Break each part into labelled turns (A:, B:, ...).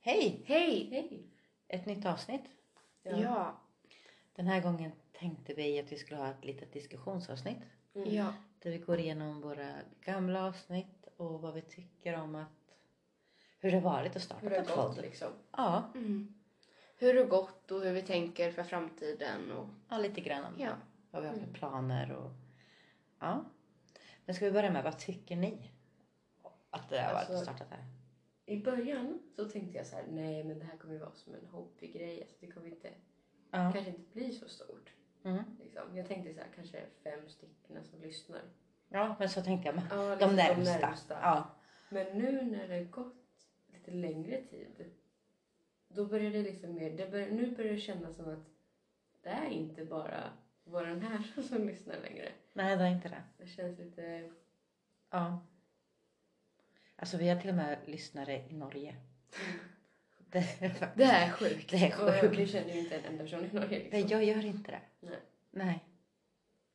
A: Hej!
B: Hej!
C: Hej!
A: Ett nytt avsnitt.
B: Ja. Ja.
A: Den här gången tänkte vi att vi skulle ha ett litet diskussionsavsnitt.
C: Mm.
A: Där vi går igenom våra gamla avsnitt och vad vi tycker om att... Hur det har varit att starta
C: Hur det
A: en
C: har gått
A: podd.
C: liksom.
A: Ja,
B: Mm. Hur det har gått och hur vi tänker för framtiden. Och...
A: ja, lite grann om
B: Ja.
A: vad vi har för
C: Mm.
A: planer och... Ja. Men ska vi börja med, vad tycker ni? Att det har varit att
C: Alltså-
A: starta det här.
C: I början så tänkte jag så här, nej men det här kommer ju vara som en hobbygrej. Alltså det kommer inte,
A: Ja.
C: kanske inte bli så stort.
A: Mm.
C: Liksom. Jag tänkte så här, kanske fem stycken som lyssnar.
A: ja, men så tänkte jag med.
C: Ja,
A: De
C: liksom
A: närmsta. Ja.
C: Men nu när det har gått lite längre tid, då börjar det liksom mer, det bör, nu börjar det kännas som att det är inte bara våran här som lyssnar längre.
A: Nej, det är inte det.
C: Det känns lite,
A: Ja. Alltså vi har till och med lyssnare i Norge.
C: Mm.
A: Det är faktiskt...
B: Det här är sjukt.
A: Det är
C: och
A: sjukt.
C: vi känner ju inte en enda person i Norge liksom.
A: Nej, jag gör inte det.
C: Nej.
A: Nej.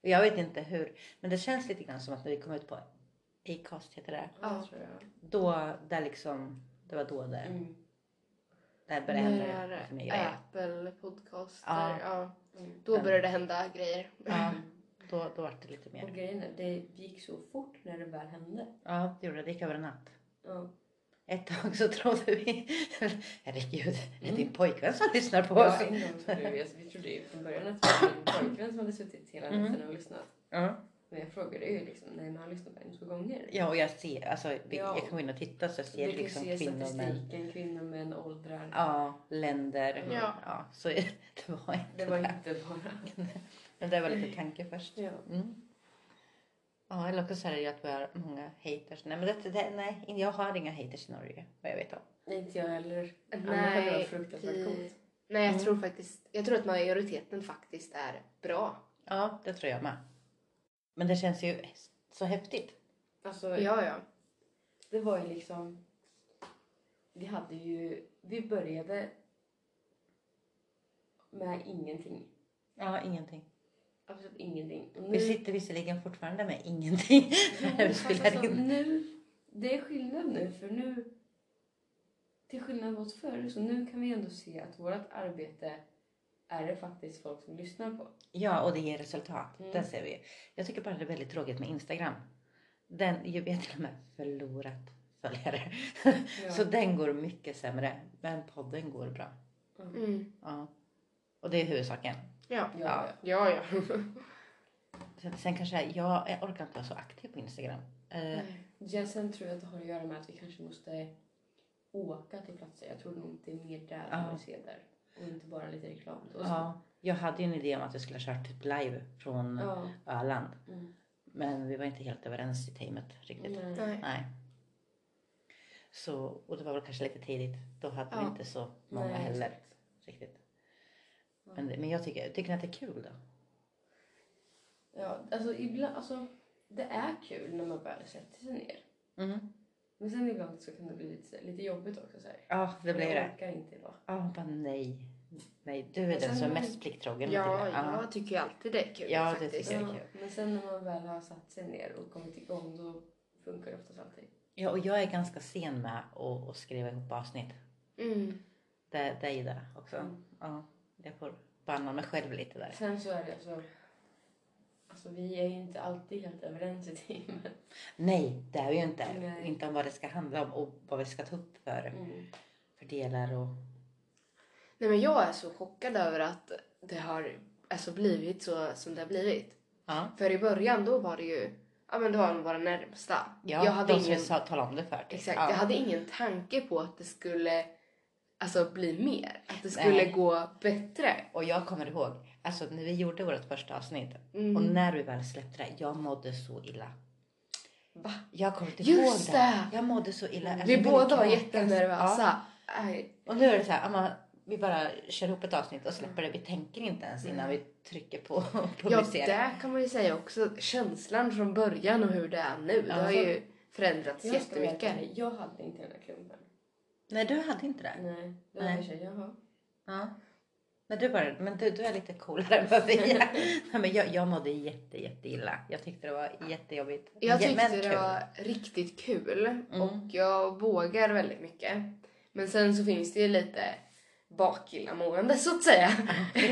A: Jag vet inte hur. Men det känns lite grann som att när vi kom ut på Acast heter det.
C: Ja, det tror jag.
A: Då, där liksom, det var då det,
C: Mm.
A: det här började hända
B: När
A: för mig grejer.
B: Apple podcaster.
A: Ja.
B: Ja.
C: Mm.
B: Då började det hända grejer.
A: Ja, då, då var det lite
C: Och
A: mer.
C: grejen är, det gick så fort när det väl hände.
A: Ja, det gjorde det. Det gick över en natt.
C: Ja.
A: Ett tag så trodde vi, herregud, det är din
C: Mm.
A: pojkvän som lyssnar på oss.
C: Ja, en gång trodde vi, alltså, vi trodde ju från början att det var min pojkvän som hade suttit hela
A: Mm.
C: natten och lyssnat.
A: Ja.
C: Men jag frågade ju liksom, nej men han lyssnar bara en två gånger.
A: Ja, och jag ser, alltså, vi,
C: Ja.
A: jag kan gå in och titta så jag ser
C: Du kan
A: liksom
C: se
A: kvinnor, män,
C: statistiken, kvinnor, män, åldrar.
A: ja, länder.
B: Ja.
A: så det var inte
C: Det var inte bara...
A: Men det var lite tanke först.
C: Ja.
A: Mm. Ja, eller också så är det ju att vi har många haters. Nej, men det, det, nej, jag har inga haters i Norge, vad jag vet om.
C: Nej, inte jag heller. Annars hade det
B: Nej,
C: varit fruktansvärt coolt.
B: Nej, jag
A: Mm.
B: tror faktiskt... Jag tror att majoriteten faktiskt är bra.
A: Ja, det tror jag med. Men det känns ju så häftigt.
C: Alltså,
B: Ja, ja.
C: det var ju liksom... Vi hade ju... Vi började med ingenting.
A: Ja, ingenting.
C: Absolut ingenting. Och
A: Vi sitter visserligen fortfarande med ingenting när vi
C: Fast alltså,
A: spelar in.
C: nu, det är skillnad nu för nu, till skillnad mot förr, så nu kan vi ändå se att vårt arbete är det faktiskt folk som lyssnar på.
A: Ja, och det ger resultat.
C: Mm.
A: Det ser vi. Jag tycker bara det är väldigt tråkigt med Instagram. Den, ju- vi har till och med förlorat följare.
C: Ja.
A: Så den går mycket sämre. Men podden går bra.
C: Mm.
B: Mm.
A: Ja. Och det är huvudsaken.
B: Ja.
C: Ja.
B: Ja, ja.
A: Sen, sen kanske jag, jag orkar inte vara så aktiv på Instagram. Eh,
B: Nej.
C: ja, sen tror jag att det har att göra med att vi kanske måste åka till platser. Jag tror nog det är mer där
A: Ja.
C: som vi ser där. Och inte bara lite reklam. Och så-
A: ja, jag hade ju en idé om att jag skulle ha kört typ live från
C: Ja.
A: Öland.
C: Mm.
A: Men vi var inte helt överens i teamet riktigt.
C: Nej.
B: Nej.
A: Nej. Så, och det var väl kanske lite tidigt. Då hade vi
B: Ja.
A: inte så många
C: Nej,
A: heller.
C: exakt.
A: Riktigt.
C: Ja.
A: Men, men jag tycker, tycker ni att det är kul då?
C: Ja, alltså, ibland, alltså, det är kul när man väl sätter sig ner.
A: Mm. Men-
C: Men sen ibland så kan det bli lite, så här- lite jobbigt också. Så här.
A: Ja, det blir
C: Jag
A: det.
C: orkar inte idag.
A: Ja, man bara nej. Nej, du är
C: Och
A: den
C: sen
A: som är
C: man-
A: mest plikttrogen.
B: Ja,
A: tycker jag. Ja.
B: jag tycker ju alltid det är kul
A: Ja, det
B: faktiskt.
A: tycker jag.
C: Ja, men sen när man väl har satt sig ner och kommit igång då funkar det oftast allting.
A: ja, och jag är ganska sen med att, att skriva ihop avsnitt.
B: Mm.
A: Det, det är ju det också.
C: Mm.
A: Ja, jag får banna mig själv lite där.
C: Sen så är det alltså, alltså vi är ju inte alltid helt överens i teamet.
A: Nej, det är vi ju inte.
C: Nej.
A: Inte om vad det ska handla om och vad vi ska ta upp för, för delar och...
B: Nej, men jag är så chockad över att det har alltså, blivit så som det har blivit.
A: Ja,
B: För i början då var det ju, ja men det var våra närmsta.
A: ja
B: jag hade
A: de
B: ingen,
A: som jag sa- talade om det för. typ.
B: exakt,
A: ja.
B: jag hade ingen tanke på att det skulle alltså bli mer. Att det skulle
A: Nej.
B: gå bättre.
A: Och jag kommer ihåg, alltså när vi gjorde vårt första avsnitt
B: Mm.
A: och när vi väl släppte det, jag mådde så illa.
C: Va?
A: Jag kommer inte
B: Just
A: ihåg det.
B: det!
A: Jag mådde så illa. Alltså,
B: Vi
A: jag ville
B: båda var
A: kräkas.
B: jättenervösa. Alltså,
A: Ja.
C: Nej.
A: Och nu är det så här, ja, man, vi bara kör ihop ett avsnitt och släpper det. Vi tänker inte ens innan vi trycker på och
B: Ja,
A: publicerar.
B: där kan man ju säga också känslan från början och hur det är nu.
A: Ja.
B: Det har ju förändrats
C: Jag ska vara helt
B: jättemycket.
C: ärlig, jag hade inte den här klumpen.
A: Nej, du hade inte det.
B: Mm.
C: Nej. Då
A: Nej.
C: var jag såhär, jaha.
A: Ja. Men du, bara, men du, du är lite coolare än vad vi är. Nej, men jag, jag mådde jätte, jätte illa. Jag tyckte det var jättejobbigt.
B: Jag
A: Ja,
B: tyckte
A: men
B: det
A: kul.
B: var riktigt kul
A: Mm.
B: och jag vågar väldigt mycket. Men Men sen så finns det ju lite bakillamående så att säga.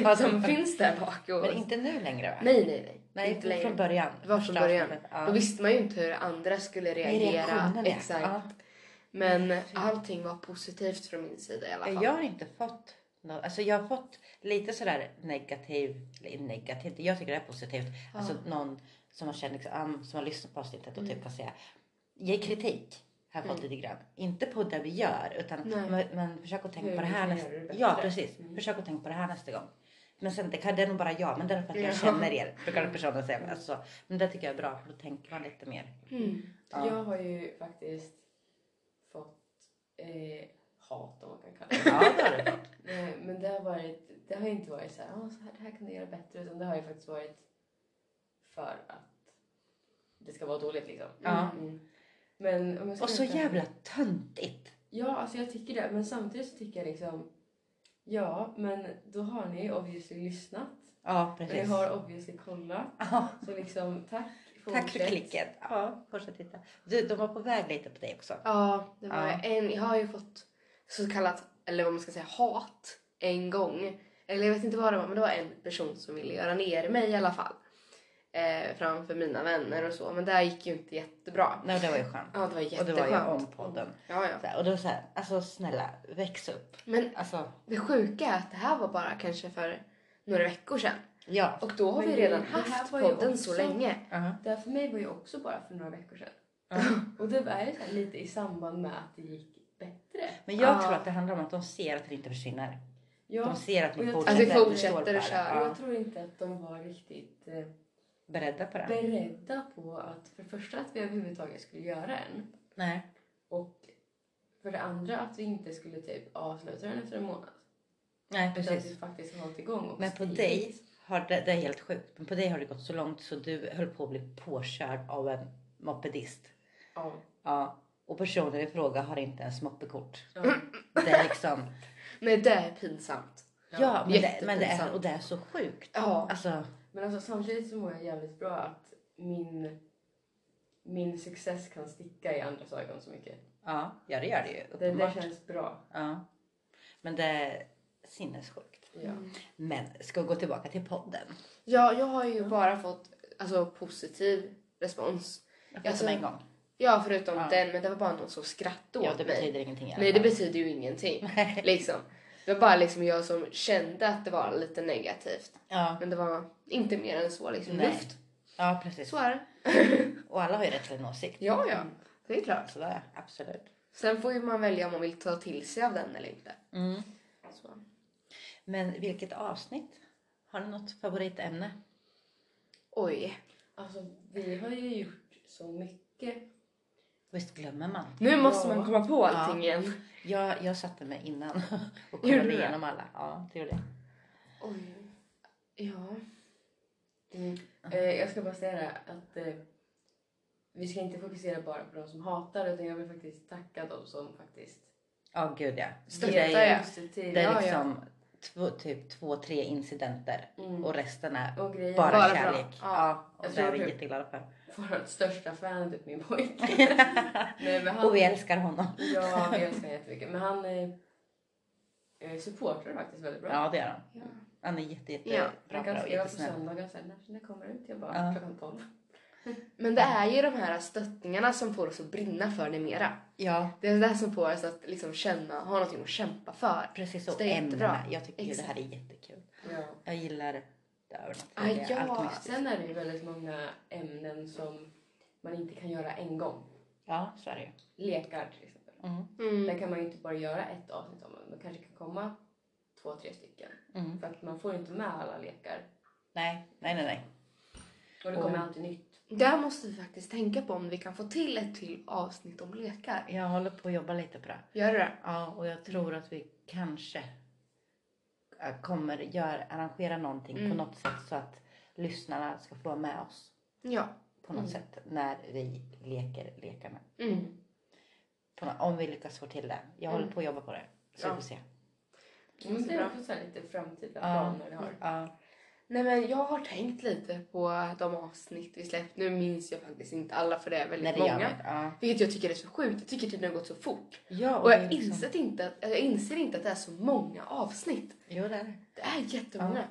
A: Ja,
B: som
A: men-
B: finns där bak. Och...
A: Men inte nu längre va?
B: Nej, nej, nej.
A: Nej,
B: inte
A: från
B: längre.
A: början.
B: Det var från
A: Första
B: början.
A: avsnittet, Ja.
B: Då visste man ju inte hur andra skulle
A: Det är
B: reagera.
A: reaktionen, ja.
B: Exakt. Men allting var positivt från min sida i alla
A: Ja.
B: fall.
A: Jag har inte fått något, alltså jag har fått lite sådär negativ, eller negativt, jag tycker det är positivt.
B: Ja.
A: Alltså någon som har känt, liksom, ah, som har lyssnat på avsnittet och
B: Mm.
A: typ kan säga, ge kritik. Har jag fått lite grann. Inte på det vi gör utan
B: Nej.
A: men, men försök att tänka
C: Hur
A: på det
C: vi
A: här
C: kan
A: nästa
C: göra det bättre.
A: Ja precis,
C: Mm.
A: försök att tänka på det här nästa gång. Men sen, det, kan, det är nog bara jag, men det är för att jag
B: Ja.
A: känner er. Brukar personen säga. Alltså, men det tycker jag är bra för då tänker man lite mer.
B: Mm.
A: Ja.
C: Jag har ju faktiskt fått eh, hat om man kan kalla det.
A: Ja, det har du fått.
C: Nej, Eh, men det har, varit, det har ju inte varit så här, "Åh, så här, det här kan du göra bättre, utan det har ju faktiskt varit för att det ska vara dåligt liksom.
A: Ja.
C: Mm. Men om jag ska
A: Och så
C: veta-
A: jävla töntigt.
C: Ja, alltså jag tycker det, men samtidigt så tycker jag liksom, ja, men då har ni obviously lyssnat.
A: Ja,
C: Och ni
A: precis.
C: har obviously kollat.
A: Ja.
C: Så liksom, tack.
A: Tack för
C: fortsätt.
A: klicket. Ja, fortsätt titta. Du, de var på väg lite på dig också.
B: Ja, det var
A: Ja.
B: en. Jag har ju fått så kallat, eller vad man ska säga, hat en gång. Eller jag vet inte vad det var, men det var en person som ville göra ner mig i alla fall. Eh, framför mina vänner och så, men det här gick ju inte jättebra.
A: Nej, det var ju skönt.
B: Ja, det var
A: Och det
B: jätteskönt.
A: var ju om podden.
B: Ja, ja.
A: Så här, och då så här, alltså snälla, väx upp.
B: Men
A: Alltså,
B: det sjuka är att det här var bara kanske för några veckor sedan.
A: ja.
B: Och då har
C: Men
B: vi
C: det-
B: redan
C: det här
B: haft
C: var ju
B: podden så
C: också-
B: länge.
A: Ja.
C: Det här för mig var ju också bara för några veckor sedan.
A: Ja.
C: Och det är ju så här lite i samband med att det gick bättre.
A: Men jag
B: Ja.
A: tror att det handlar om att de ser att det inte försvinner.
C: Ja,
A: De ser att
C: Och
A: ni
C: jag-
A: Alltså, fortsätter.
B: Att vi
A: ni står
B: fortsätter
A: på
B: att
A: det.
B: köra.
A: Ja.
C: jag tror inte att de var riktigt eh,
A: Beredda på det?
C: beredda på att för det första att vi överhuvudtaget skulle göra en
A: Nej.
C: och för det andra att vi inte skulle typ avsluta den efter en månad.
A: Nej,
C: Utan att vi
A: precis.
C: faktiskt har hållit igång. Och
A: Men på
C: stigit.
A: dig har det, det är helt sjukt. Men på dig har det gått så långt så du höll på att bli påkörd av en mopedist.
C: Ja.
A: Ja. Och personen i fråga har inte ens moppekort.
C: ja.
A: Det är liksom...
B: Men det är pinsamt.
A: Ja, men, det, men det, är,
B: Jättepinsamt.
A: och det är så sjukt.
B: Ja.
A: Alltså,
C: Men alltså samtidigt så mår jag jävligt bra att min, min success kan sticka i andras ögon så mycket.
A: ja, ja det gör det ju.
C: Det, det
A: Uppenbart.
C: känns bra.
A: Ja. Men det är sinnessjukt.
C: Ja.
A: Men ska vi gå tillbaka till podden?
B: Ja, jag har ju bara fått alltså, positiv respons.
A: Jag
B: Alltså,
A: alltså, en gång.
B: Ja, förutom
A: Ja.
B: den, men det var bara någon som skrattade
A: Ja,
B: åt
A: det
B: mig.
A: betyder ingenting. i alla
B: Nej, det
A: fall.
B: betyder ju ingenting. liksom. Det var bara liksom jag som kände att det var lite negativt.
A: ja.
B: Men det var inte mer än så. Liksom.
A: Nej.
B: Luft.
A: ja, precis.
B: Så är det.
A: Och alla har ju rätt till en åsikt.
B: Ja, ja. Det är klart.
A: Så där, absolut.
B: Sen får ju man välja om man vill ta till sig av den eller inte.
A: Mm.
B: Så.
A: Men vilket avsnitt? Har ni något favoritämne?
B: Oj.
C: Alltså vi har ju gjort så mycket.
A: Visst glömmer man?
B: Nu måste
C: Ja.
B: man komma på
A: Ja.
B: allting igen.
A: Jag, jag satte mig innan och
B: Gjorde
A: kollade
B: du det?
A: igenom alla. Ja, det gjorde jag.
B: Oj. Ja.
C: Mm. Eh, jag ska bara säga det här, att eh, vi ska inte fokusera bara på de som hatar utan jag vill faktiskt tacka de som faktiskt
A: Ja, gud ja.
B: Stöttar
A: Det är ju-
B: jag. Ja.
C: positiva.
A: Det är
B: Ja, ja.
A: liksom två, typ två, tre incidenter
C: Mm.
A: och resten är
C: Och grejen
A: bara,
B: Bara bra.
A: kärlek.
B: Ja.
A: Ja, och
C: Jag
A: det är
C: tror
A: vi
C: det.
A: jätteglada för.
C: Vårt största fan är typ min pojke. Nej, men han,
A: Och vi älskar honom.
C: Ja, vi älskar honom jättemycket. Men han eh, eh, supportar faktiskt väldigt bra.
A: Ja, det gör han.
B: Ja.
A: Han är jätte, jätte
B: Ja,
A: bra, bra
C: han kan
A: och
C: skriva på
A: jättesnäll.
C: söndagar och säga när, när kommer det ut? Jag bara
A: Ja.
C: klockan 12.
B: Men det är ju de här stöttningarna som får oss att brinna för det mera.
A: Ja,
B: Det är det där som får oss att liksom känna, ha någonting att kämpa för.
A: precis.
B: Så
A: Och
B: det är jättebra.
A: ämnena. Jag tycker ju det
B: Exakt.
A: här är jättekul.
C: Ja.
A: Jag gillar det
B: Ah,
A: övernaturliga.
B: ja.
A: Allt mystiskt.
C: Sen är det ju väldigt många ämnen som man inte kan göra en gång.
A: Ja, så är det ju.
C: Lekar till exempel.
A: Mm.
C: Där
B: Mm.
C: kan man ju inte bara göra ett avsnitt om. Man kanske kan komma två, tre stycken.
A: Mm.
C: För att man får inte med alla lekar.
A: Nej, nej, nej. nej.
C: Och det
A: Och-
C: kommer alltid nytt.
B: Där måste vi faktiskt tänka på om vi kan få till ett till avsnitt om lekar.
A: Jag håller på att jobba lite på det.
B: Gör du det?
A: Ja, och jag tror att vi kanske äh, kommer gör, arrangera någonting
B: Mm.
A: på något sätt så att lyssnarna ska få vara med oss
B: Ja.
A: på något
C: Mm.
A: sätt när vi leker lekarna.
B: Mm.
A: På nå- om vi lyckas få till det. Jag
B: Mm.
A: håller på att jobba på det. Så
B: Ja.
A: vi får se.
C: Men
B: Det är
C: det är
B: bra.
C: också så här lite framtida
A: Ja.
C: planer vi har.
A: Ja.
B: Nej men jag har tänkt lite på de avsnitt vi släppt. Nu minns jag faktiskt inte alla för det är väldigt
A: När det gör
B: många.
A: mig. Ja.
B: Vilket jag tycker är så sjukt. Jag tycker tiden har gått så fort.
A: ja
B: Och
A: det är
B: jag,
A: liksom-
B: insett inte att, eller jag inser inte att det är så många avsnitt.
A: Jo, det är det.
B: Det är jättemånga.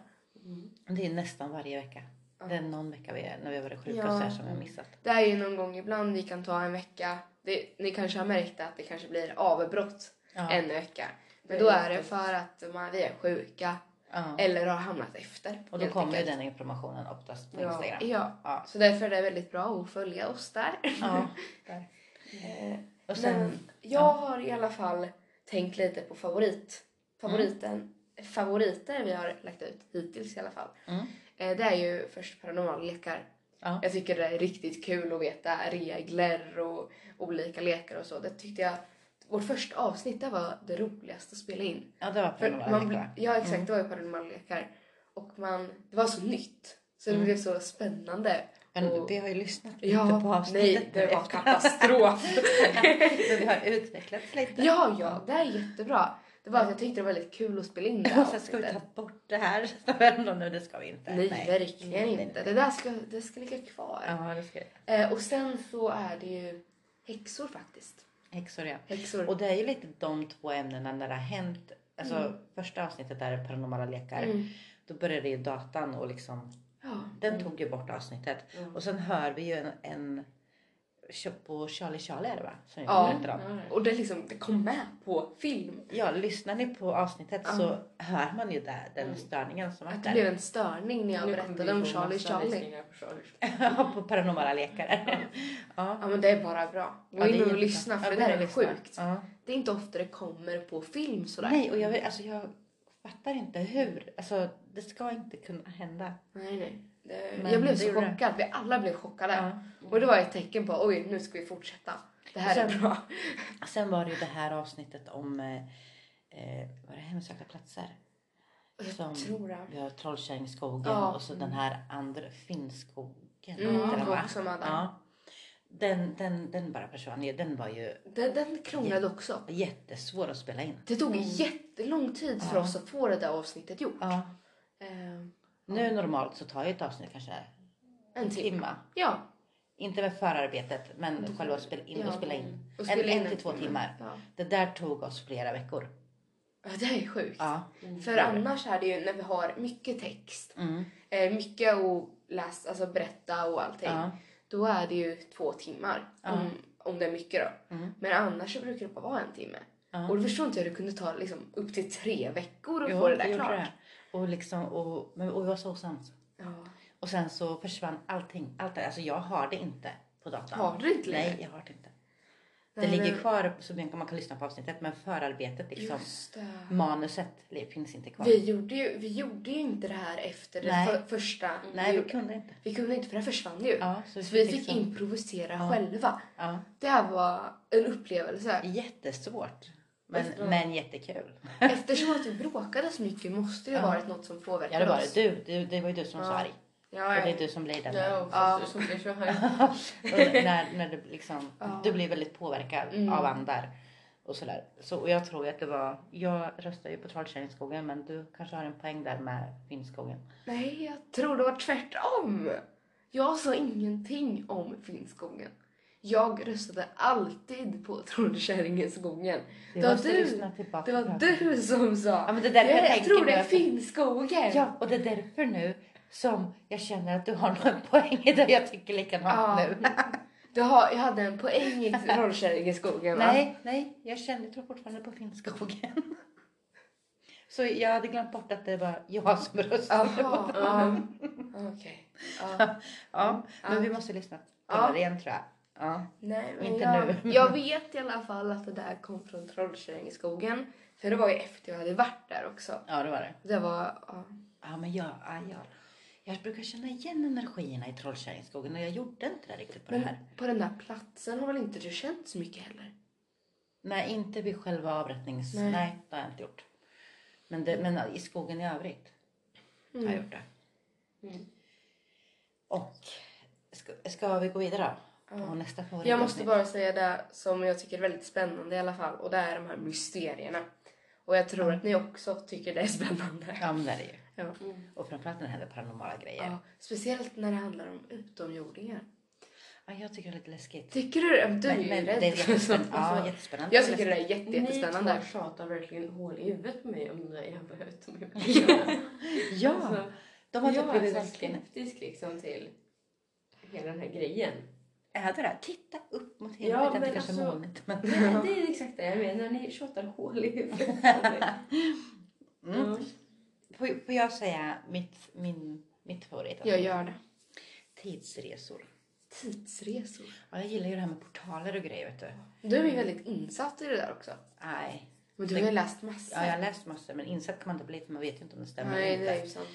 C: Mm.
A: Det är nästan varje vecka.
B: Ja.
A: Det är någon vecka vi är, när vi har varit sjuka
B: Ja.
A: och så här som vi har missat.
B: Det är ju någon gång ibland vi kan ta en vecka. Det, ni kanske har märkt att det kanske blir avbrott
A: Ja.
B: en vecka. Men
C: Det
B: då
C: är
B: är det
C: riktigt.
B: för att man, vi är sjuka
A: Ja.
B: eller har hamnat efter.
A: Och då
B: helt
A: kommer ju
B: enkelt.
A: den informationen oftast på
C: Ja.
A: Instagram.
B: Ja,
A: Ja.
B: så därför är det väldigt bra att följa oss där.
A: Ja, där.
B: Eh,
A: Och sen,
B: Men jag
A: ja.
B: har i alla fall tänkt lite på favorit. Favoriten, Favoriter vi har lagt ut hittills i alla fall.
A: Mm.
B: Eh, Det är ju först paranormala lekar.
A: Ja.
B: Jag tycker det är riktigt kul att veta regler och olika lekar och så. Det tyckte jag, vårt första avsnitt det var det roligaste att spela in.
A: ja, det var
B: För
A: paranormala
B: man,
A: lekar.
B: ja exakt, det var ju paranormala lekar. Och man, det var så nytt. Så det
A: Mm.
B: blev så spännande.
A: Men
B: och-
A: vi har ju lyssnat lite på
B: Ja,
A: avsnittet.
B: nej det
A: nu
B: var
A: efter-
B: katastrof.
A: Men vi har utvecklats lite.
B: Ja, ja, det är jättebra. Det var att jag tyckte det var väldigt kul att spela in det här
A: Och sen ska vi ta
B: avsnittet.
A: bort det här. Så ändå nu, det ska vi inte.
B: Nej, verkligen
A: Nej,
B: inte.
A: nej.
B: Det där ska, det ska ligga kvar.
A: Ja, det ska vi.
B: Eh, och sen så är det ju häxor faktiskt.
A: Häxor ja.
B: Häxor.
A: Och det är ju lite de två ämnena när det har hänt. Alltså
B: Mm.
A: första avsnittet där är paranormala lekar.
B: Mm.
A: Då började ju datan och liksom.
B: Ja.
A: Den
C: Mm.
A: tog ju bort avsnittet.
C: Ja.
B: Mm.
A: Och sen hör vi ju en, en på Charlie Charlie är det va? Som jag
B: Ja.
A: berättade om.
B: Och det, liksom, det kom med på film.
A: Ja, lyssnar ni på avsnittet
B: Ja.
A: så hör man ju där den
C: Mm.
A: störningen som var
B: Att det blev
A: där.
B: en störning när jag
C: Nu kommer vi
B: berättade om
C: få
B: Charlie
C: massa
B: Charlie.
C: lyssningar på Charlie Charlie.
A: Ja, på paranormala lekar. Ja.
B: Ja men det är bara bra. Gå
A: Ja, det är
B: in och
A: jättebra.
B: lyssna för
A: Ja,
B: det där
A: gå in och
B: är
A: lyssna.
B: sjukt.
A: Ja.
B: Det är inte ofta det kommer på film sådär.
A: Nej, och jag, vet- alltså, jag fattar inte hur. Alltså, det ska inte kunna hända.
B: nej. nej. Det,
A: Men
B: jag blev
A: det
B: så
A: gjorde det.
B: chockad. Vi alla blev chockade.
A: Ja.
B: Och det var
A: Mm.
B: ett tecken på oj nu ska vi fortsätta. Det här
A: Och
B: är
A: sen-
B: bra.
A: Sen var det ju det här avsnittet om eh, eh, var det hemsökta platser.
B: Och Jag
A: Som-
B: tror det.
A: Vi har Trollkärringskogen
B: Ja.
A: och så den här andra Finnskogen.
B: Mm,
A: heter den, va?
B: också med där.
A: ja. den, den, den bara försvann ju. Den var ju
B: Den, den krånglade också.
A: jättesvår att spela in.
B: Det tog
C: Mm.
B: jättelång tid för
A: Ja.
B: oss att få det där avsnittet gjort.
A: Ja.
B: Eh,
A: Nu normalt så tar ju ett avsnitt kanske
B: en
A: en
B: timme.
A: timme.
B: Ja.
A: Inte med förarbetet men
B: Mm.
A: själva att spela in,
B: Ja.
A: och spela in.
B: Och
A: En-
B: spela in
A: en till två
B: timme.
A: timmar.
B: Ja.
A: Det där tog oss flera veckor.
B: ja, det är sjukt.
A: Ja.
C: Mm.
B: För annars är det ju när vi har mycket text,
A: Mm.
B: eh, mycket att läsa, alltså berätta och allting.
A: Ja.
B: Då är det ju två timmar.
A: Ja.
B: Om, om det är mycket då.
A: Mm.
B: Men annars så brukar det bara vara en timme.
A: Ja.
B: Och du förstår inte hur det kunde ta liksom, upp till tre veckor att
A: Jo,
B: få det där
A: gjorde
B: klart.
A: Och, liksom, och, men, och vi var så osams.
B: Ja.
A: Och sen så försvann allting. Allt det, alltså jag har det inte på datorn.
B: Har du inte längre?
A: Nej, jag har det inte. Det
B: Nej,
A: ligger
B: men-
A: kvar så man kan, man kan lyssna på avsnittet men förarbetet, liksom,
B: Just det.
A: manuset li- finns inte kvar.
B: Vi gjorde, ju, vi gjorde ju inte det här efter det
A: Nej.
B: för, första.
A: Nej,
B: vi,
A: vi kunde inte.
B: vi kunde inte för det försvann ju.
A: Ja, så
B: så vi fick
A: liksom-
B: improvisera
A: Ja.
B: själva.
A: Ja,
B: Det här var en upplevelse.
A: jättesvårt. Men,
C: Efteråt-
A: men jättekul.
B: Eftersom att vi bråkade så mycket måste det ha
A: Ja.
B: varit något som påverkade
A: Ja, det var
B: oss.
A: det. Du, du, det var ju du som var
B: Ja.
A: så arg.
B: Ja,
A: Och
B: ja.
A: det är du som blir den.
C: Mm. Ja,
B: Ja.
C: fast du som är så här.
A: och när, när du, liksom,
B: Ja.
A: du blir väldigt påverkad
B: Mm.
A: av andar. Och sådär. Så, och jag tror ju att det var, jag röstar ju på Trollkärringskogen men du kanske har en poäng där med Finnskogen.
B: Nej, jag tror det var tvärtom. Jag sa ingenting om Finnskogen. Jag röstade alltid på Trollkärringensskogen.
A: Det
B: var
A: måste
B: du.
A: lyssna tillbaka
B: Det
A: på.
B: var du som sa.
A: Ja men det där jag,
B: jag
A: tänker
B: tror
A: nu
B: det är
A: att-
B: Finnskogen.
A: Ja och det är därför nu som jag känner att du har någon poäng i det jag tycker likadant
B: Ja.
A: nu.
B: Du har, jag hade en poäng i Trollkärringeskogen va?
A: Nej, nej, jag känner, jag tror fortfarande på Finnskogen. Så jag hade glömt bort att det var jag som röstade.
B: Jaha, ja. Okej. Ja.
A: Ja, men
B: Ja.
A: vi måste lyssna på
B: Ja.
A: det igen tror jag. Ja.
B: Nej, men
A: Inte
B: jag,
A: nu.
B: jag vet i alla fall att det där kom från Trollkärringeskogen. För det var ju efter jag hade varit där också.
A: ja, det var det.
B: Det var... Ja.
A: Ja, men jag, ja, jag, jag brukar känna igen energierna i Trollkärringskogen och jag gjorde inte det riktigt på det
B: Men
A: här.
B: på den där platsen har väl inte du känt så mycket heller?
A: Nej, inte vid själva avrättnings...
B: Nej.
A: Nej, det har jag inte gjort. Men, det, men i skogen i övrigt
B: Mm.
A: har jag gjort det.
C: Mm.
A: Och ska, ska vi gå vidare då? På
B: Ja.
A: nästa favorit.
B: Jag måste bara säga det som jag tycker är väldigt spännande i alla fall. Och det är de här mysterierna. Och jag tror att ni också tycker det är spännande.
A: Ja, men det är det ju.
B: Ja.
C: Mm.
A: Och framförallt när det händer paranormala grejer.
B: Ja, speciellt när det handlar om utomjordingar.
A: Ja, jag tycker det är lite läskigt.
B: Tycker du det? Du är ju
A: det är jättespännande. Ja,
B: rädd.
A: jättespännande.
B: Alltså, Jag tycker det är jätte,
C: Ni
B: jättespännande.
C: två tjatar verkligen hål i huvudet på mig om det jävla utomjordingarna.
A: Ja,
C: Alltså,
A: de har typ
C: Jag är
A: blivit
C: så
A: verkligen...
C: skeptisk liksom till hela den här grejen.
A: Är det där? Titta upp mot
C: Ja,
A: himlen. Ja, inte
C: men
A: kanske
C: alltså-
A: molnigt, men...
C: Nej, det är exakt det jag menar. Ni tjatar hål i huvudet på mig.
A: Mm.
C: Ja.
A: Får, får jag säga mitt, min, mitt favorit?
B: Jag gör det.
A: Tidsresor.
B: Tidsresor.
A: Ja, jag gillar ju det här med portaler och grejer, vet du.
B: Du är ju väldigt insatt i det där också.
A: Nej.
B: Men du har ju läst massor.
A: Ja, jag har läst massor, men insatt kan man inte bli för man vet ju inte om det stämmer eller
B: Nej,
A: inte.
B: det är ju sant.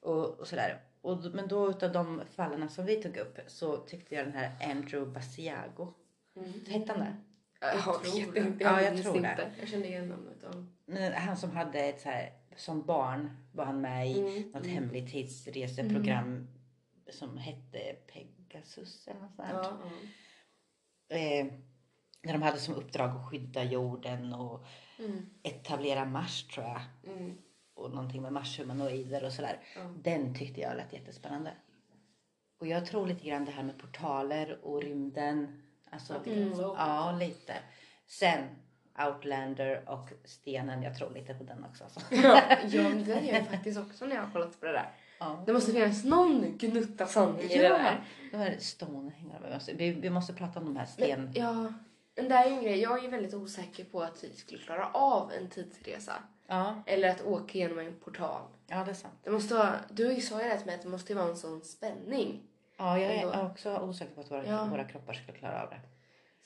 A: och, och sådär. Och, d- men då utav de fallen som vi tog upp så tyckte jag den här Andrew Basiago.
C: Mm.
A: Hette han det?
B: Ja,
C: tror
B: jag vet
C: det.
B: inte.
A: Ja, jag
B: minns
A: tror det.
B: inte.
C: Jag kände igen namnet. Ja.
A: Men Han som hade ett så här, som barn var han med i
B: Mm.
A: något hemligt tidsreseprogram som hette Pegasus eller något sånt. här.
C: Ja,
A: Eh, där de hade som uppdrag att skydda jorden och
B: Mm.
A: etablera Mars tror jag.
C: ja. Mm.
A: Och någonting med Mars-humanoider och sådär.
C: Ja.
A: Den tyckte jag lät jättespännande. Och jag tror lite grann det här med portaler och rymden. Alltså,
C: Att det kan vara så.
A: Ja, lite. Sen Outlander och Stenen. Jag tror lite på den också. Alltså.
B: Ja, ja, men det gör jag faktiskt också när jag har kollat på det där.
A: Ja.
B: Det måste finnas någon gnutta sanning i det
A: Ja,
B: där.
A: de här Stonehenge. Vi måste, vi, vi måste prata om de här sten...
B: Men, ja, men det är ju en grej. Jag är ju väldigt osäker på att vi skulle klara av en tidsresa.
A: Ja,
B: Eller att åka genom en portal.
A: ja, det är sant.
B: Det måste vara, du sa ju det till mig att det måste ju vara en sån spänning.
A: Ja, jag är
B: Ändå.
A: också osäker på att våra,
B: Ja.
A: våra kroppar skulle klara av det.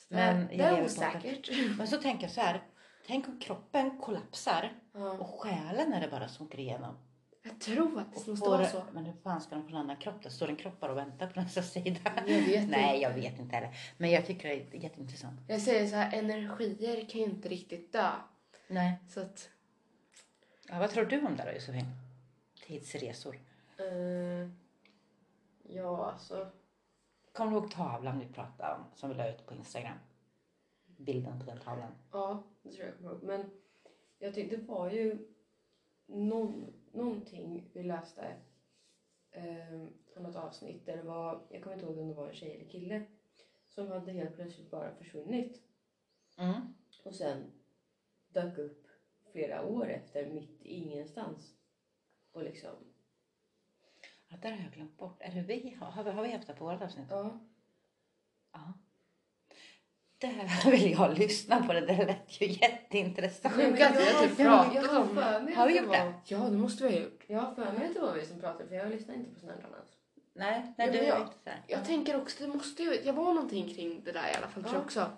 A: Men
B: Men
A: jag
B: det är
A: lever på
B: osäkert.
A: Men så tänker jag så här. Tänk om kroppen kollapsar
B: Ja.
A: och själen är det bara som åker igenom.
B: Jag tror att det
A: Och
B: måste
A: får-
B: vara så.
A: Men hur fan ska de få en annan kropp då? Står en kropp bara och väntar på nästa sida?
B: Jag vet
A: Nej,
B: inte.
A: jag vet inte heller. Men jag tycker det är jätteintressant.
B: Jag säger så här, energier kan ju inte riktigt dö.
A: Nej.
B: Så att,
A: Ja, vad tror du om det då Josefin? Tidsresor.
C: Eh, ja, alltså.
A: Kommer du ihåg tavlan vi pratade om som vi la ut på Instagram? Bilden på den tavlan.
C: Ja, det tror jag jag kommer ihåg. Men jag tyckte det var ju någon, någonting vi läste eh, på något avsnitt där det var, jag kommer inte ihåg om det var en tjej eller kille, som hade helt plötsligt bara försvunnit
A: Mm.
C: och sen dök upp flera år efter mitt i ingenstans. Och liksom,
A: Ja, där har jag glömt bort. Är det vi? Har vi, har vi haft det på vårt avsnitt?
C: ja.
A: Ja. Det här vill jag lyssna på. Det där lät ju jätteintressant.
B: Sjukt att vi har typ pratat om det.
C: det.
A: Har vi gjort det?
B: ja det måste vi ha gjort.
C: Jag har för mig att det var vi som pratade för jag lyssnar inte på sånt här annars.
A: Nej, nej
B: Jo,
A: du
B: men
A: är
B: jag-
A: inte så här.
B: Jag tänker också, det måste ju, jag var någonting kring det där i alla fall tror jag
C: Ja.
B: också.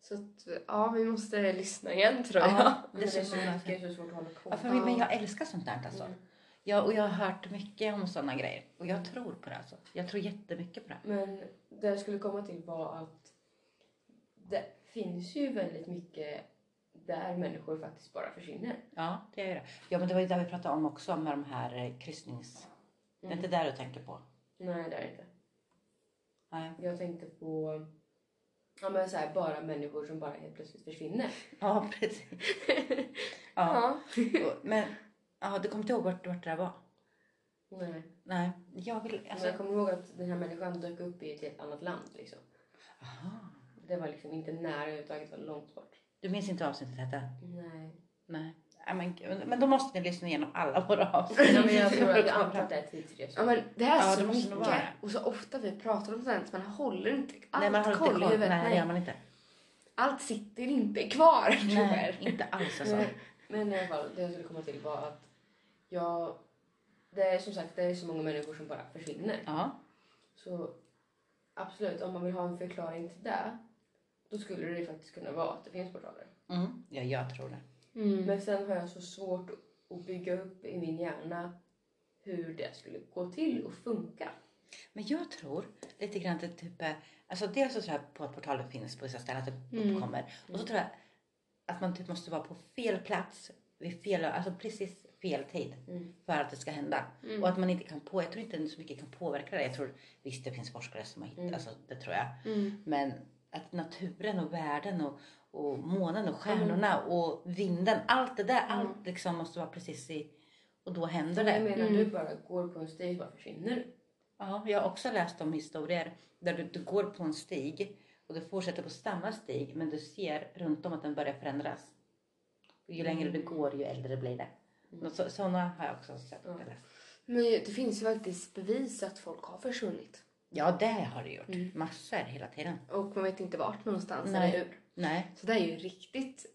B: Så att, ja vi måste lyssna igen tror jag.
A: Ja,
C: Men det
A: det
C: är
A: känns
C: så,
A: som att-
C: mycket, så svårt att hålla koll.
A: Ja, för mig, men
B: Ja.
A: jag älskar sånt där alltså.
C: Mm.
A: Jag, och jag har hört mycket om sådana grejer. Och jag tror på det alltså. Jag tror jättemycket på det.
C: Men det jag skulle komma till var att det finns ju väldigt mycket där människor faktiskt bara försvinner.
A: Ja, det gör det. Ja, men det var ju det vi pratade om också med de här eh, kryssnings... Det
C: Mm.
A: är inte där du tänker på?
C: Nej, det är det inte.
A: Nej.
C: Jag tänkte på ja, men så här, bara människor som bara helt plötsligt försvinner.
A: Ja, precis. Ja,
B: Ja.
A: och- men ja, du kommer inte ihåg vart, vart det där var?
C: Nej.
A: Nej, jag vill...
C: Alltså,
A: Alltså,
C: jag kommer ihåg att den här människan dök upp i ett helt annat land. Liksom.
A: aha.
C: Det var liksom inte nära överhuvudtaget, det var långt bort.
A: Du minns inte vad avsnittet hette?
C: Nej.
A: Nej. Ja, men, gud. men då måste ni lyssna igenom alla våra avsnitt.
C: Ja, men jag tror att jag antar att det är typ tidsresor.
B: Ja men det här är
A: Ja, det
B: så
A: måste nog vara
B: mycket
A: det.
B: och så ofta vi pratar om sånt man håller inte allt
A: Nej, man har inte
B: koll i
A: koll.
B: huvudet.
A: Nej, det gör
B: Nej,
A: man inte.
B: Allt sitter inte kvar
A: Nej,
B: tyvärr.
A: inte alls alltså.
C: Nej, Men i alla fall, det jag skulle komma till var att jag... Det är som sagt, det är så många människor som bara försvinner.
A: Ja.
C: Så absolut, om man vill ha en förklaring till det, då skulle det ju faktiskt kunna vara att det finns portaler.
A: Mm. Ja, jag tror det.
B: Mm.
C: Men sen har jag så svårt att bygga upp i min hjärna hur det skulle gå till och funka.
A: Men jag tror lite grann att det typ är, alltså dels så tror jag på att portalen finns på vissa ställen, att det
B: Mm.
A: uppkommer. Och så tror jag att man typ måste vara på fel plats vid fel, alltså precis fel tid
C: Mm.
A: för att det ska hända.
B: Mm.
A: Och att man inte kan på, jag tror inte så mycket kan påverka det. Jag tror visst det finns forskare som har hittat,
C: Mm.
A: alltså det tror jag.
B: Mm.
A: Men att naturen och världen och, och månen och stjärnorna och vinden, allt det där, allt liksom måste vara precis i Och då händer
C: Jag
A: det.
C: menar
B: Mm.
C: du bara går på en stig och bara försvinner.
A: Ja, jag har också läst om historier där du, du går på en stig och du fortsätter på samma stig men du ser runt om att den börjar förändras. Och ju längre du går ju äldre blir det.
C: Mm.
A: Så, sådana har jag också sett.
C: Ja.
A: eller läst.
B: Men det finns ju faktiskt bevis att folk har försvunnit.
A: Ja, det har det gjort.
B: Mm.
A: Massor hela tiden.
B: Och man vet inte vart någonstans
A: Nej.
B: eller hur.
A: Nej.
B: Så det är ju riktigt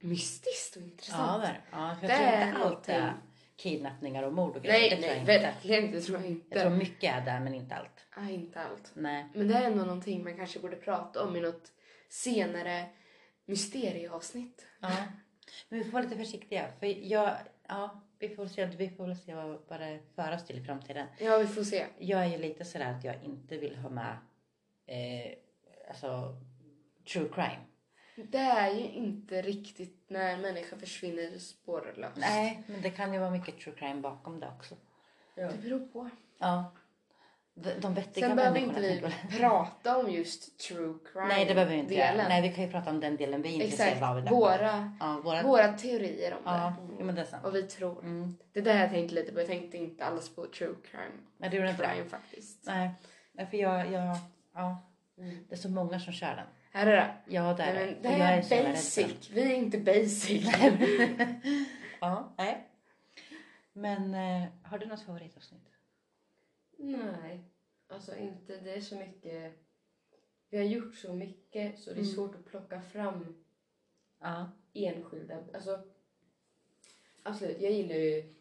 B: mystiskt och
A: Ja,
B: intressant.
A: det är det. ja, för
B: Det
A: jag tror
B: är
A: inte allt är
B: allting.
A: kidnappningar och mord och grejer.
B: nej,
A: det tror
B: nej,
A: jag inte.
B: verkligen inte. Det tror jag
A: Jag tror
B: inte.
A: mycket är där men inte allt.
B: Nej, inte allt.
A: Nej.
B: Men det är ändå någonting man kanske borde prata om i något senare mysterieavsnitt.
A: Ja. Men vi får vara lite försiktiga. För jag, ja, vi får se, vi får väl se vad, vad det för oss till i framtiden.
B: Ja, vi får se.
A: Jag är ju lite sådär att jag inte vill ha med eh, alltså, true crime.
B: Det är ju inte riktigt när en människa försvinner spårlöst.
A: Nej, men det kan ju vara mycket true crime bakom det också.
C: Ja.
B: Det beror på.
A: Ja. De, de vettiga
B: Sen behöver inte
A: människorna
B: vi
A: tänker-
B: prata om just true crime
A: Nej, det behöver vi inte göra.
B: delen.
A: Nej, vi kan ju prata om den delen vi är
B: Exakt.
A: intresserade av. idag.
B: Våra,
A: Ja, våra...
B: våra teorier om
A: Ja,
B: det.
A: jo, men det är sant.
B: Vad vi tror.
A: Mm.
B: Det där jag tänkte lite på. Jag tänkte inte alls på true crime.
A: Nej, det gjorde inte det.
B: Crime faktiskt.
A: Nej, Nej, för jag, jag, ja,
C: Mm.
A: det är så många som kör den.
B: Här är det.
A: Ja, det är
B: Nej, men det
A: Och jag
B: här
A: så jävla
B: är
A: rädd för den.
B: basic. Vi är inte basic.
A: ja, nej. Men eh, har du något favoritavsnitt?
C: Nej, alltså inte. Det är så mycket. Vi har gjort så mycket så det är
A: Mm.
C: svårt att plocka fram
A: Ja.
C: enskilda. Alltså, absolut, jag gillar ju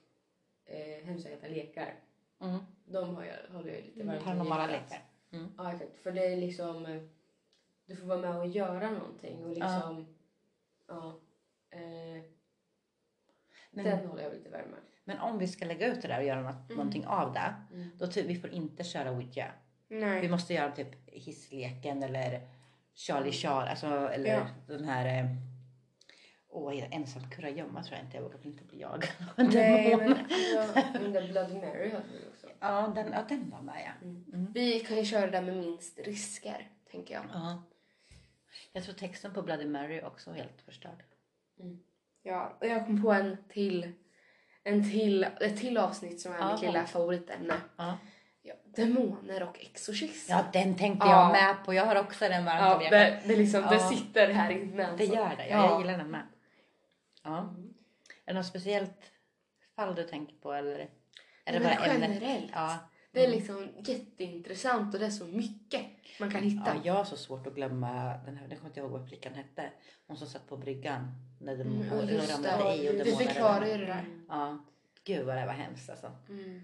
C: eh, Hemsökta lekar.
A: Mm.
C: De har jag, håller jag lite
B: Mm,
C: varmt om
A: Paranormala
C: hjärtat.
A: lekar.
C: Ja, exakt. För det är liksom... eh, Du får vara med och göra någonting och liksom... Ja. eh,
A: Men-
C: den håller jag lite varm med.
A: Men om vi ska lägga ut det där och göra något,
B: Mm.
A: någonting av det.
C: Mm.
A: Då ty- vi får inte köra Ouija. Vi
B: Nej.
A: måste göra typ hissleken eller Charlie Charlie. Alltså, eller
B: Ja.
A: den här... eh, Åh, oh, ensam kurragömma tror jag inte. Jag vågar väl inte bli jagad av en
B: Nej,
A: demon.
B: men, alltså,
C: Ja, men den Bloody Mary hade vi också.
A: Ja, den, ja, den var med ja.
C: Mm.
A: Mm.
B: vi kan ju köra det där med minst risker, tänker jag.
A: ja. Jag tror texten på Bloody Mary också är helt förstörd.
B: Ja, och jag kom på en till, en till, ett till avsnitt som är
A: Ja,
B: mitt lilla favoritämne.
A: Ja.
B: Ja, demoner och exorcism.
A: Ja, den tänkte
B: Ja.
A: jag med på. Jag har också den varmt
B: Ja,
A: om hjärtat.
B: det, det, liksom, det
A: Ja.
B: sitter här inne. Alltså.
A: Det gör det. Ja, jag gillar den med. Ja.
C: Mm.
A: Är det något speciellt fall du tänker på eller? Är det
B: Men
A: bara ämnet?
B: generellt.
A: Ja.
B: Det är liksom jätteintressant och det är så mycket man kan hitta.
A: ja, jag har så svårt att glömma den här. Nu kommer jag inte ihåg vad flickan hette. Hon som satt på bryggan när de
B: Mm,
A: och
B: och
A: de
B: just
A: ramlade
B: det.
A: i och
B: Vi
A: demonerna.
B: förklarar ju det där.
C: Mm.
A: Ja. Gud vad det var hemskt alltså.
B: Mm.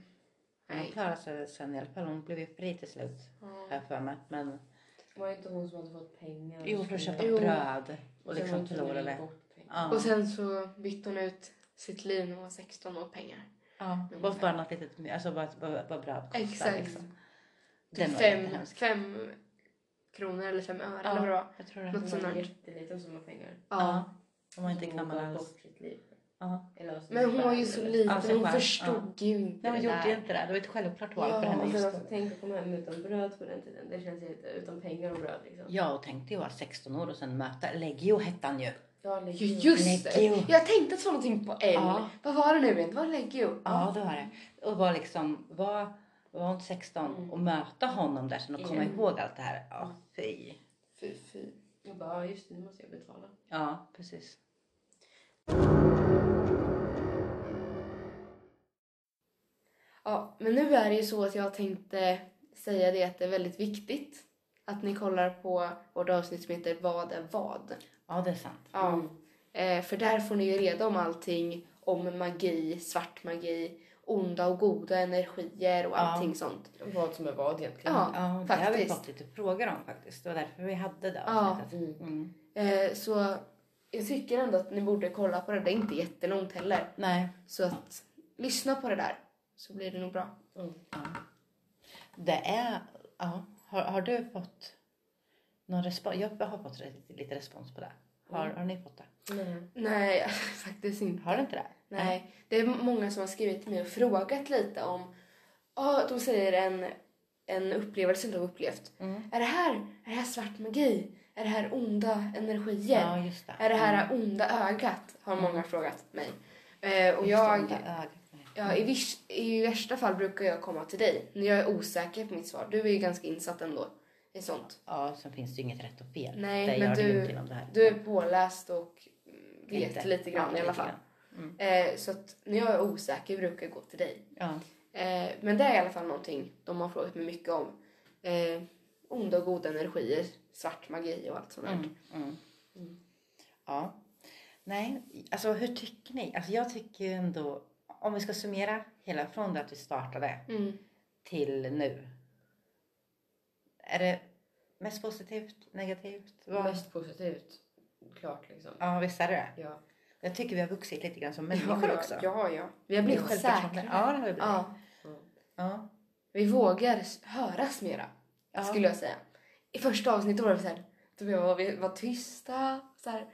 A: Hon
B: Nej.
A: klarade sig sen i alla fall. Hon blev ju fri till slut har
B: Ja.
A: jag för mig. Men
C: Var det inte hon som hade fått pengar?
A: jo, för att köpa
B: Jo.
A: bröd och
C: Sen var
A: liksom
C: hon tvungen att ge
A: förlorade.
C: bort pengar.
A: Ja.
B: Och sen så bytte hon ut sitt liv när hon var 16 och pengar.
A: Ja, bara, bara något litet, alltså bara, bara, bara bröd kostar
B: Exakt.
A: liksom.
B: Typ
A: Den var
B: fem,
A: jättehemsk.
B: fem kronor eller fem öre
A: Ja.
B: eller vad det var.
A: Jag tror det.
B: Något
C: Hon var
B: sånt.
C: jätteliten som var pengar.
A: Ja.
B: Ja.
A: Om man inte
C: Hon
A: kan man
C: gav
A: alls.
C: bort sitt liv.
A: Ja.
C: Eller alltså
B: Men hon
C: själv,
B: var ju så
C: eller-
B: liten,
A: Ja, sig
B: hon
A: själv.
B: förstod ju inte
A: Nej, hon
B: det
A: gjorde ju
B: där.
A: inte det. Det var ett självklart val
B: Ja,
A: för henne
C: Och
A: just
C: sen
A: då.
C: alltså, tänk att komma hem utan bröd på den tiden. Det känns ju lite utan pengar och bröd liksom.
A: Jag tänkte ju vara 16 år och sen möta Leggio hette han ju.
C: Ja,
B: Ju-
C: lägg-
B: Just
A: Leggio.
B: det! Jag tänkte att det var någonting på L.
A: Ja.
B: Vad var det nu igen? Det var Leggio.
A: Ja, det var det. Och var liksom, var, var hon 16
C: Mm.
A: och möta honom där sen och komma
C: Mm.
A: ihåg allt det här. Ja, fy.
B: Fy, fy.
C: Jag bara, ja, just det, nu måste jag betala.
A: Ja, precis.
B: Ja, men nu är det ju så att jag tänkte säga det att det är väldigt viktigt att ni kollar på vårt avsnitt som heter Vad är vad?
A: Ja, det är sant.
B: Ja.
C: Mm.
B: Eh, för där får ni ju reda om allting om magi, svart magi, onda och goda energier och
A: Ja.
B: allting sånt.
C: Vad som är vad egentligen.
B: Ja,
A: Ja, det har vi
B: faktiskt.
A: fått lite frågor om faktiskt. Det var därför vi hade det
B: Ja.
A: avsnittet. Mm.
B: Eh, så jag tycker ändå att ni borde kolla på det. Det är inte jättelångt heller.
A: Nej.
B: Så att lyssna på det där så blir det nog bra.
A: Det är, ja. Har, har du fått någon respons? Jag har fått re- lite respons på det. Har, har ni fått det?
C: Nej.
B: Nej, faktiskt inte.
A: Har du inte det?
B: Nej, det är många som har skrivit till mig och frågat lite om... Ja, de säger en, en upplevelse de har upplevt.
A: Mm.
B: Är det här, är det här svart magi? Är det här onda energier?
A: Ja, just det. Mm.
B: Är det här onda ögat? Har många frågat mig. Eh, och jag,
A: Ögat.
B: Ja, i, viss, I värsta fall brukar jag komma till dig när jag är osäker på mitt svar. Du är ju ganska insatt ändå i sånt.
A: Ja, sen finns det ju inget rätt och fel.
B: Nej,
A: det
B: men
A: gör det ju
B: du-
A: inte inom det här.
B: Du är påläst och mm, vet
A: Inte.
B: lite grann
A: Ja,
B: i alla
A: lite
B: fall.
A: grann. Mm.
B: Eh, så att när jag är osäker brukar jag gå till dig.
A: Ja.
B: Eh, men det är i alla fall någonting de har frågat mig mycket om. Eh, onda och goda energier, svart magi och allt sånt där.
A: Mm, mm. Ja. Nej, alltså hur tycker ni? Alltså jag tycker ju ändå, om vi ska summera hela från det att vi startade
B: Mm.
A: till nu. Är det mest positivt, negativt? Vad-
C: Mest positivt. Klart liksom.
A: Ja, visst är det det
C: Ja.
A: Jag tycker vi har vuxit lite grann som människor
B: ja,
A: också.
B: Ja, ja. Vi har
A: Det är
B: blivit
A: självförtroende.
B: säkrare.
A: Ja, det har vi blivit.
B: Ja,
A: Ja.
B: vi vågar s- höras mera,
A: Ja.
B: skulle jag säga. I första avsnittet var det så här, då vi var, vi var tysta. Så här.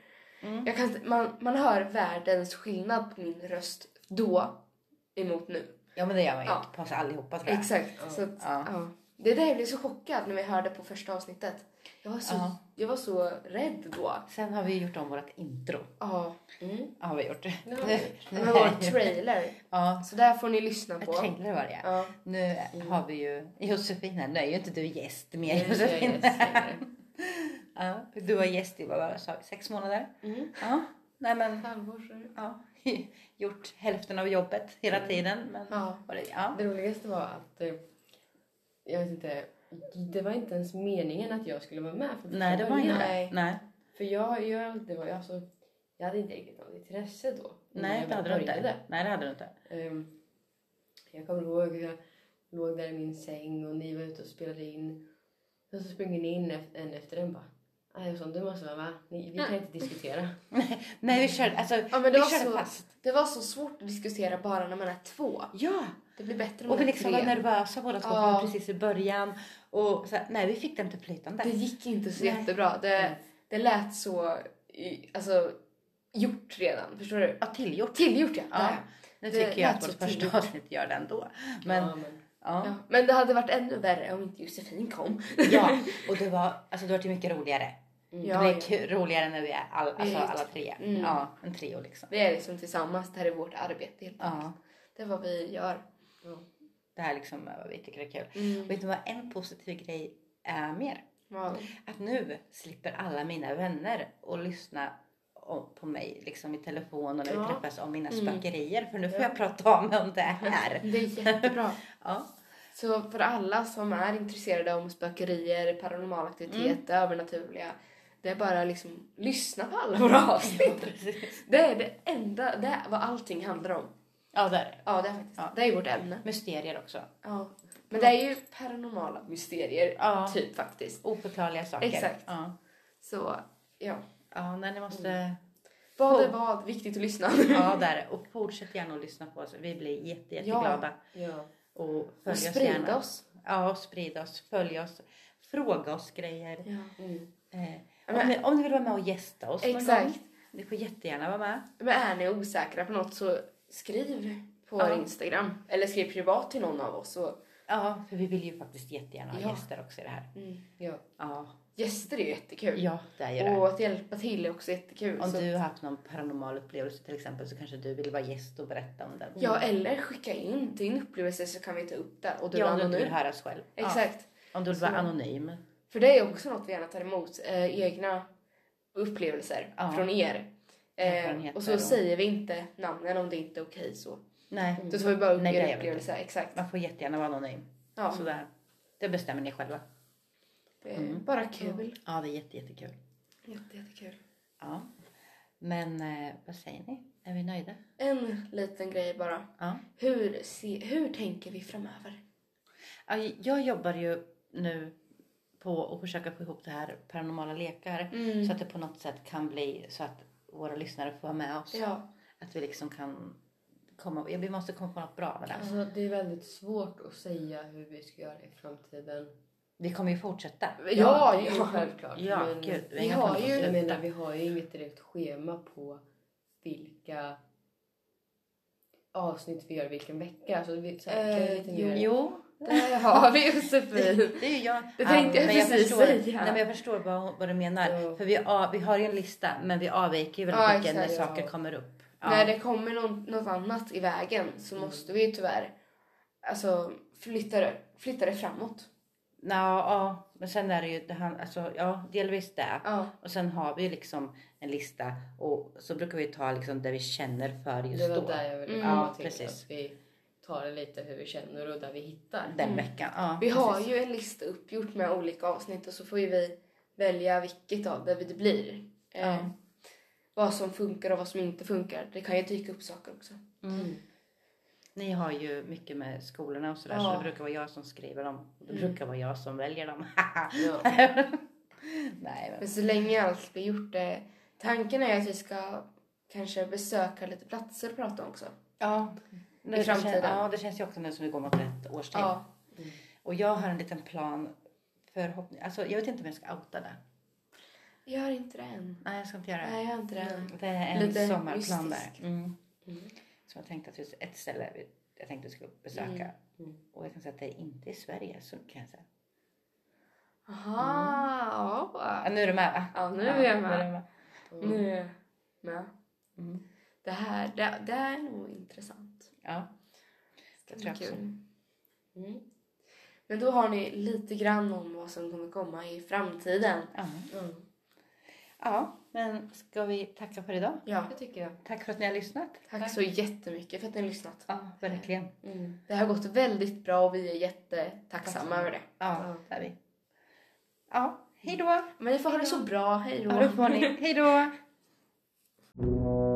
A: Mm.
B: Jag kan, man, man hör världens skillnad på min röst då emot nu.
A: ja, men det gör man ju
B: Ja.
A: på oss allihopa tror jag.
B: Exakt.
C: Ja.
B: Så att,
A: Ja.
B: ja. Det är där jag blev så chockad när vi hörde på första avsnittet. Jag var så,
A: Ja.
B: jag var så rädd då.
A: Sen har vi gjort om vårt intro.
B: Ja.
C: Mm.
A: Ja, har vi gjort.
C: Det har vi.
B: Det här var en trailer.
A: Ja,
B: Så där får ni lyssna
A: jag
B: på.
A: tänkte det var det.
B: Ja.
A: Nu har vi ju Josefin här. Nu är ju inte du gäst mer
C: Nej, jag är
A: Josefin.
C: gäst längre.
A: Ja, du var gäst i vad var det, sa vi, sex månader.
B: Mm.
A: Ja, nej men
C: Halvår sedan.
A: ja, gjort hälften av jobbet hela tiden. Men,
B: Ja.
A: var det, ja.
C: Det roligaste var att eh, jag vet inte, det var inte ens meningen att jag skulle vara med. För
A: Nej, det var inte
B: Nej.
A: det. Nej,
C: För jag, jag, det var, jag, alltså, jag hade inte riktigt något intresse då. när
A: nej
C: jag
A: det
C: väl
A: hade du inte.
C: började.
A: Nej, det hade du inte.
C: Ehm, jag kommer ihåg hur jag låg där i min säng och ni var ute och spelade in. Sen så springer ni in ef- en efter en bara. "Ah, jag sa, du måste vara med. Ni, vi kan inte diskutera.
A: Nej, vi körde, alltså,
B: men det
A: vi
B: var
A: körde
B: så-
A: fast.
B: Det var så svårt att diskutera bara när man är två.
A: Ja,
B: Det blir bättre när
A: och vi
B: man är
A: liksom var
B: tre.
A: nervösa båda två för
B: Ja.
A: det var precis i början. Och så, här, nej, vi fick den till flytande.
B: Det gick inte så
A: Nej. Mm.
B: jättebra. Det, det lät så i- alltså, gjort redan. Förstår du?
A: Ja, tillgjort.
B: Tillgjort ja.
A: Ja,
B: Där.
A: nu
B: Det
A: tycker jag att
B: lät så
A: vårt första
B: tillgjort.
A: avsnitt gör det ändå. Men,
C: ja, men
A: ja.
B: Ja. Men det hade varit ännu värre om inte Josefin kom.
A: Ja, och det var, alltså det var ju mycket roligare.
C: mm.
B: Ja,
A: det
B: ja.
A: är kul, roligare när vi är all, alltså,
B: Visst.
A: alla tre.
B: Mm.
A: Ja, en trio liksom.
B: Vi är liksom tillsammans. Det här är vårt arbete. Helt
A: Ja,
B: Det är vad vi gör.
A: det här liksom är vad vi tycker är kul.
B: Mm.
A: Vet du vad en positiv grej är mer?
B: Ja.
A: Att nu slipper alla mina vänner och lyssna o- på mig liksom i telefon och när vi
C: Ja.
A: träffas om mina
B: Mm.
A: spökerier. För nu får
C: Ja.
A: jag prata om mig om det här.
B: Det är jättebra.
A: Ja,
B: Så för alla som är intresserade om spökerier, paranormal aktivitet,
A: Mm.
B: det övernaturliga. Det är bara liksom lyssna på alla våra avsnitt.
A: precis.
B: Det är det enda, det är vad allting handlar om.
A: Ja, där är det.
B: Ja, det är faktiskt.
A: Ja.
B: Det är vårt ämne.
A: Mysterier också.
B: Ja. Men det är ju paranormala mysterier,
A: Ja.
B: typ faktiskt.
A: Oförklarliga saker.
B: Exakt.
A: Ja, Mm.
B: Så ja,
A: ja nej, ni måste...
B: vad är
A: Oh.
B: vad? Viktigt att lyssna.
A: Ja, där. är det. Och fortsätt gärna att lyssna på oss. Vi blir jätte, jätteglada.
C: ja.
A: Och följ
B: Och
A: oss
B: sprida
A: gärna.
B: oss.
A: Ja, och sprid oss. Följ oss. Fråga oss grejer.
B: Ja.
C: Mm.
A: Eh,
B: men-
A: om, ni, om ni vill vara med och gästa oss någon
B: Exakt.
A: gång. Ni får jättegärna vara med.
B: Men är ni osäkra på något så skriv på
A: Ja.
B: vår Instagram. Eller skriv privat till någon av oss. Och,
A: Ja, för vi vill ju faktiskt jättegärna ha
B: Ja.
A: gäster också i det här.
C: ja.
A: Ja,
B: Gäster är ju jättekul.
A: Mm. ja det är ju det.
B: Och att hjälpa till är också jättekul.
A: Om
B: Så,
A: du har haft någon paranormal upplevelse till exempel så kanske du vill vara gäst och berätta om den.
B: Ja, eller skicka in din upplevelse så kan vi ta upp det. Och du
A: Ja,
B: är
A: om du inte vill
B: anonym.
A: höras själv.
B: Exakt.
A: Ja, om du vill vara
B: Så-
A: anonym.
B: För det är också något vi gärna tar emot. Eh, egna upplevelser
A: Ja.
B: från er. Eh,
A: Erfarenheter
B: och så
A: och- Mm.
B: säger vi inte namnen om det inte är okej så.
A: Nej,
B: Då tar vi bara upp
A: Nej, det gör vi
B: era
A: inte.
B: upplevelser. Exakt.
A: man får jättegärna vara anonym.
B: Ja,
A: Sådär. Det bestämmer ni själva.
B: det är
A: Mm.
B: bara kul.
A: Ja, det är jätte, jättekul.
B: Jätte, jättekul.
A: Ja. Men eh, vad säger ni? Är vi nöjda?
B: En liten grej bara.
A: Ja.
B: Hur, se, hur tänker vi framöver?
A: Ja, Jag jobbar ju nu på att försöka få ihop det här paranormala lekar
B: Mm.
A: så att det på något sätt kan bli så att våra lyssnare får vara med oss.
B: Ja,
A: Att vi liksom kan komma, ja, vi måste komma på något bra med det.
B: Mm.
C: Alltså, det är väldigt svårt att säga hur vi ska göra i framtiden.
A: Vi kommer ju fortsätta.
B: Ja,
C: det är ju
B: ja.
C: självklart.
A: Ja,
C: men
A: gud. Vi,
B: vi
A: inga
B: har
A: planer på att
B: ju-
C: jag
A: sluta.
C: menar, vi har ju inget direkt schema på vilka avsnitt vi gör vilken vecka. Så vi, så här, kan
B: Eh,
C: vi lite
B: jo.
C: mer...
A: Jo,
B: det har vi Josefin.
A: det är ju jag.
B: Det tänkte jag
A: men
B: precis
A: förstår,
B: säga.
A: Nej, men jag förstår vad, vad du menar.
C: Ja.
A: För vi, av- vi har ju en lista men vi avviker ju väldigt
B: Ja,
A: mycket när
B: exakt,
C: ja.
A: saker kommer upp. Ja. Mm.
B: När det kommer någon, något annat i vägen så måste vi ju tyvärr alltså, flytta, det, flytta det framåt.
A: Nå, ja, men sen är det ju, det han, alltså, ja delvis det.
B: Ja.
A: Och sen har vi ju liksom en lista och så brukar vi ta liksom det vi känner för just
C: Det
A: då.
C: var där jag ville
B: Mm.
C: komma
A: Ja,
C: till.
A: precis.
C: Att vi tar det lite hur vi känner och där vi hittar.
A: Den veckan. Ja,
B: Vi har
A: precis.
B: ju en lista uppgjort med olika avsnitt och så får ju vi välja vilket av det det blir. Eh,
A: Ja.
B: Vad som funkar och vad som inte funkar. Det kan ju dyka upp saker också.
A: Mm. Ni har ju mycket med skolorna och sådär så
B: Ja.
A: det brukar vara jag som skriver dem. Det brukar vara jag som väljer dem.
C: Ja.
A: Nej men.
B: Men så länge allt blir gjort. Eh, tanken är att vi ska kanske besöka lite platser och prata om också.
A: Ja. Nu,
B: I framtiden.
A: Det känns, ja det känns ju också nu som vi går mot ett års tid.
B: Ja.
A: Och jag har en liten plan förhoppning. Alltså jag vet inte om jag ska outa det.
B: Gör inte det än.
A: Nej Mm. jag ska inte göra det.
B: Nej, jag gör inte det än.
A: Det är en
B: Lite
A: sommarplan
B: mystisk.
A: där. Mm.
C: Mm.
A: Så jag tänkte att vi- ett ställe vi- jag tänkte vi skulle besöka.
C: Mm.
A: Och jag kan säga att det är inte i Sverige så kan jag säga.
B: Aha,
A: Ja,
B: ja.
A: nu är du med va?
B: Ja, nu är jag
A: nu
B: med.
A: du med.
C: Mm.
B: Nu är jag med.
A: Mm.
B: Det här, det, det här är nog intressant.
A: Ja. Det tror jag
B: Kul.
A: också.
C: Mm.
B: Men då har ni lite grann om vad som kommer komma i framtiden.
A: Ja.
C: Mm.
A: ja, men ska vi tacka för idag?
B: Ja.
C: Det tycker jag.
A: Tack för att ni har lyssnat.
B: Tack så jättemycket för att ni har lyssnat.
A: Ja, verkligen.
C: Mm.
B: Det har gått väldigt bra och vi är jättetacksamma
A: Tacksamma.
B: över det.
A: Ja, det är vi. Ja, hej då.
B: Men ni får ha det så bra. Hej då.
A: Ja, då får ni. Hej då.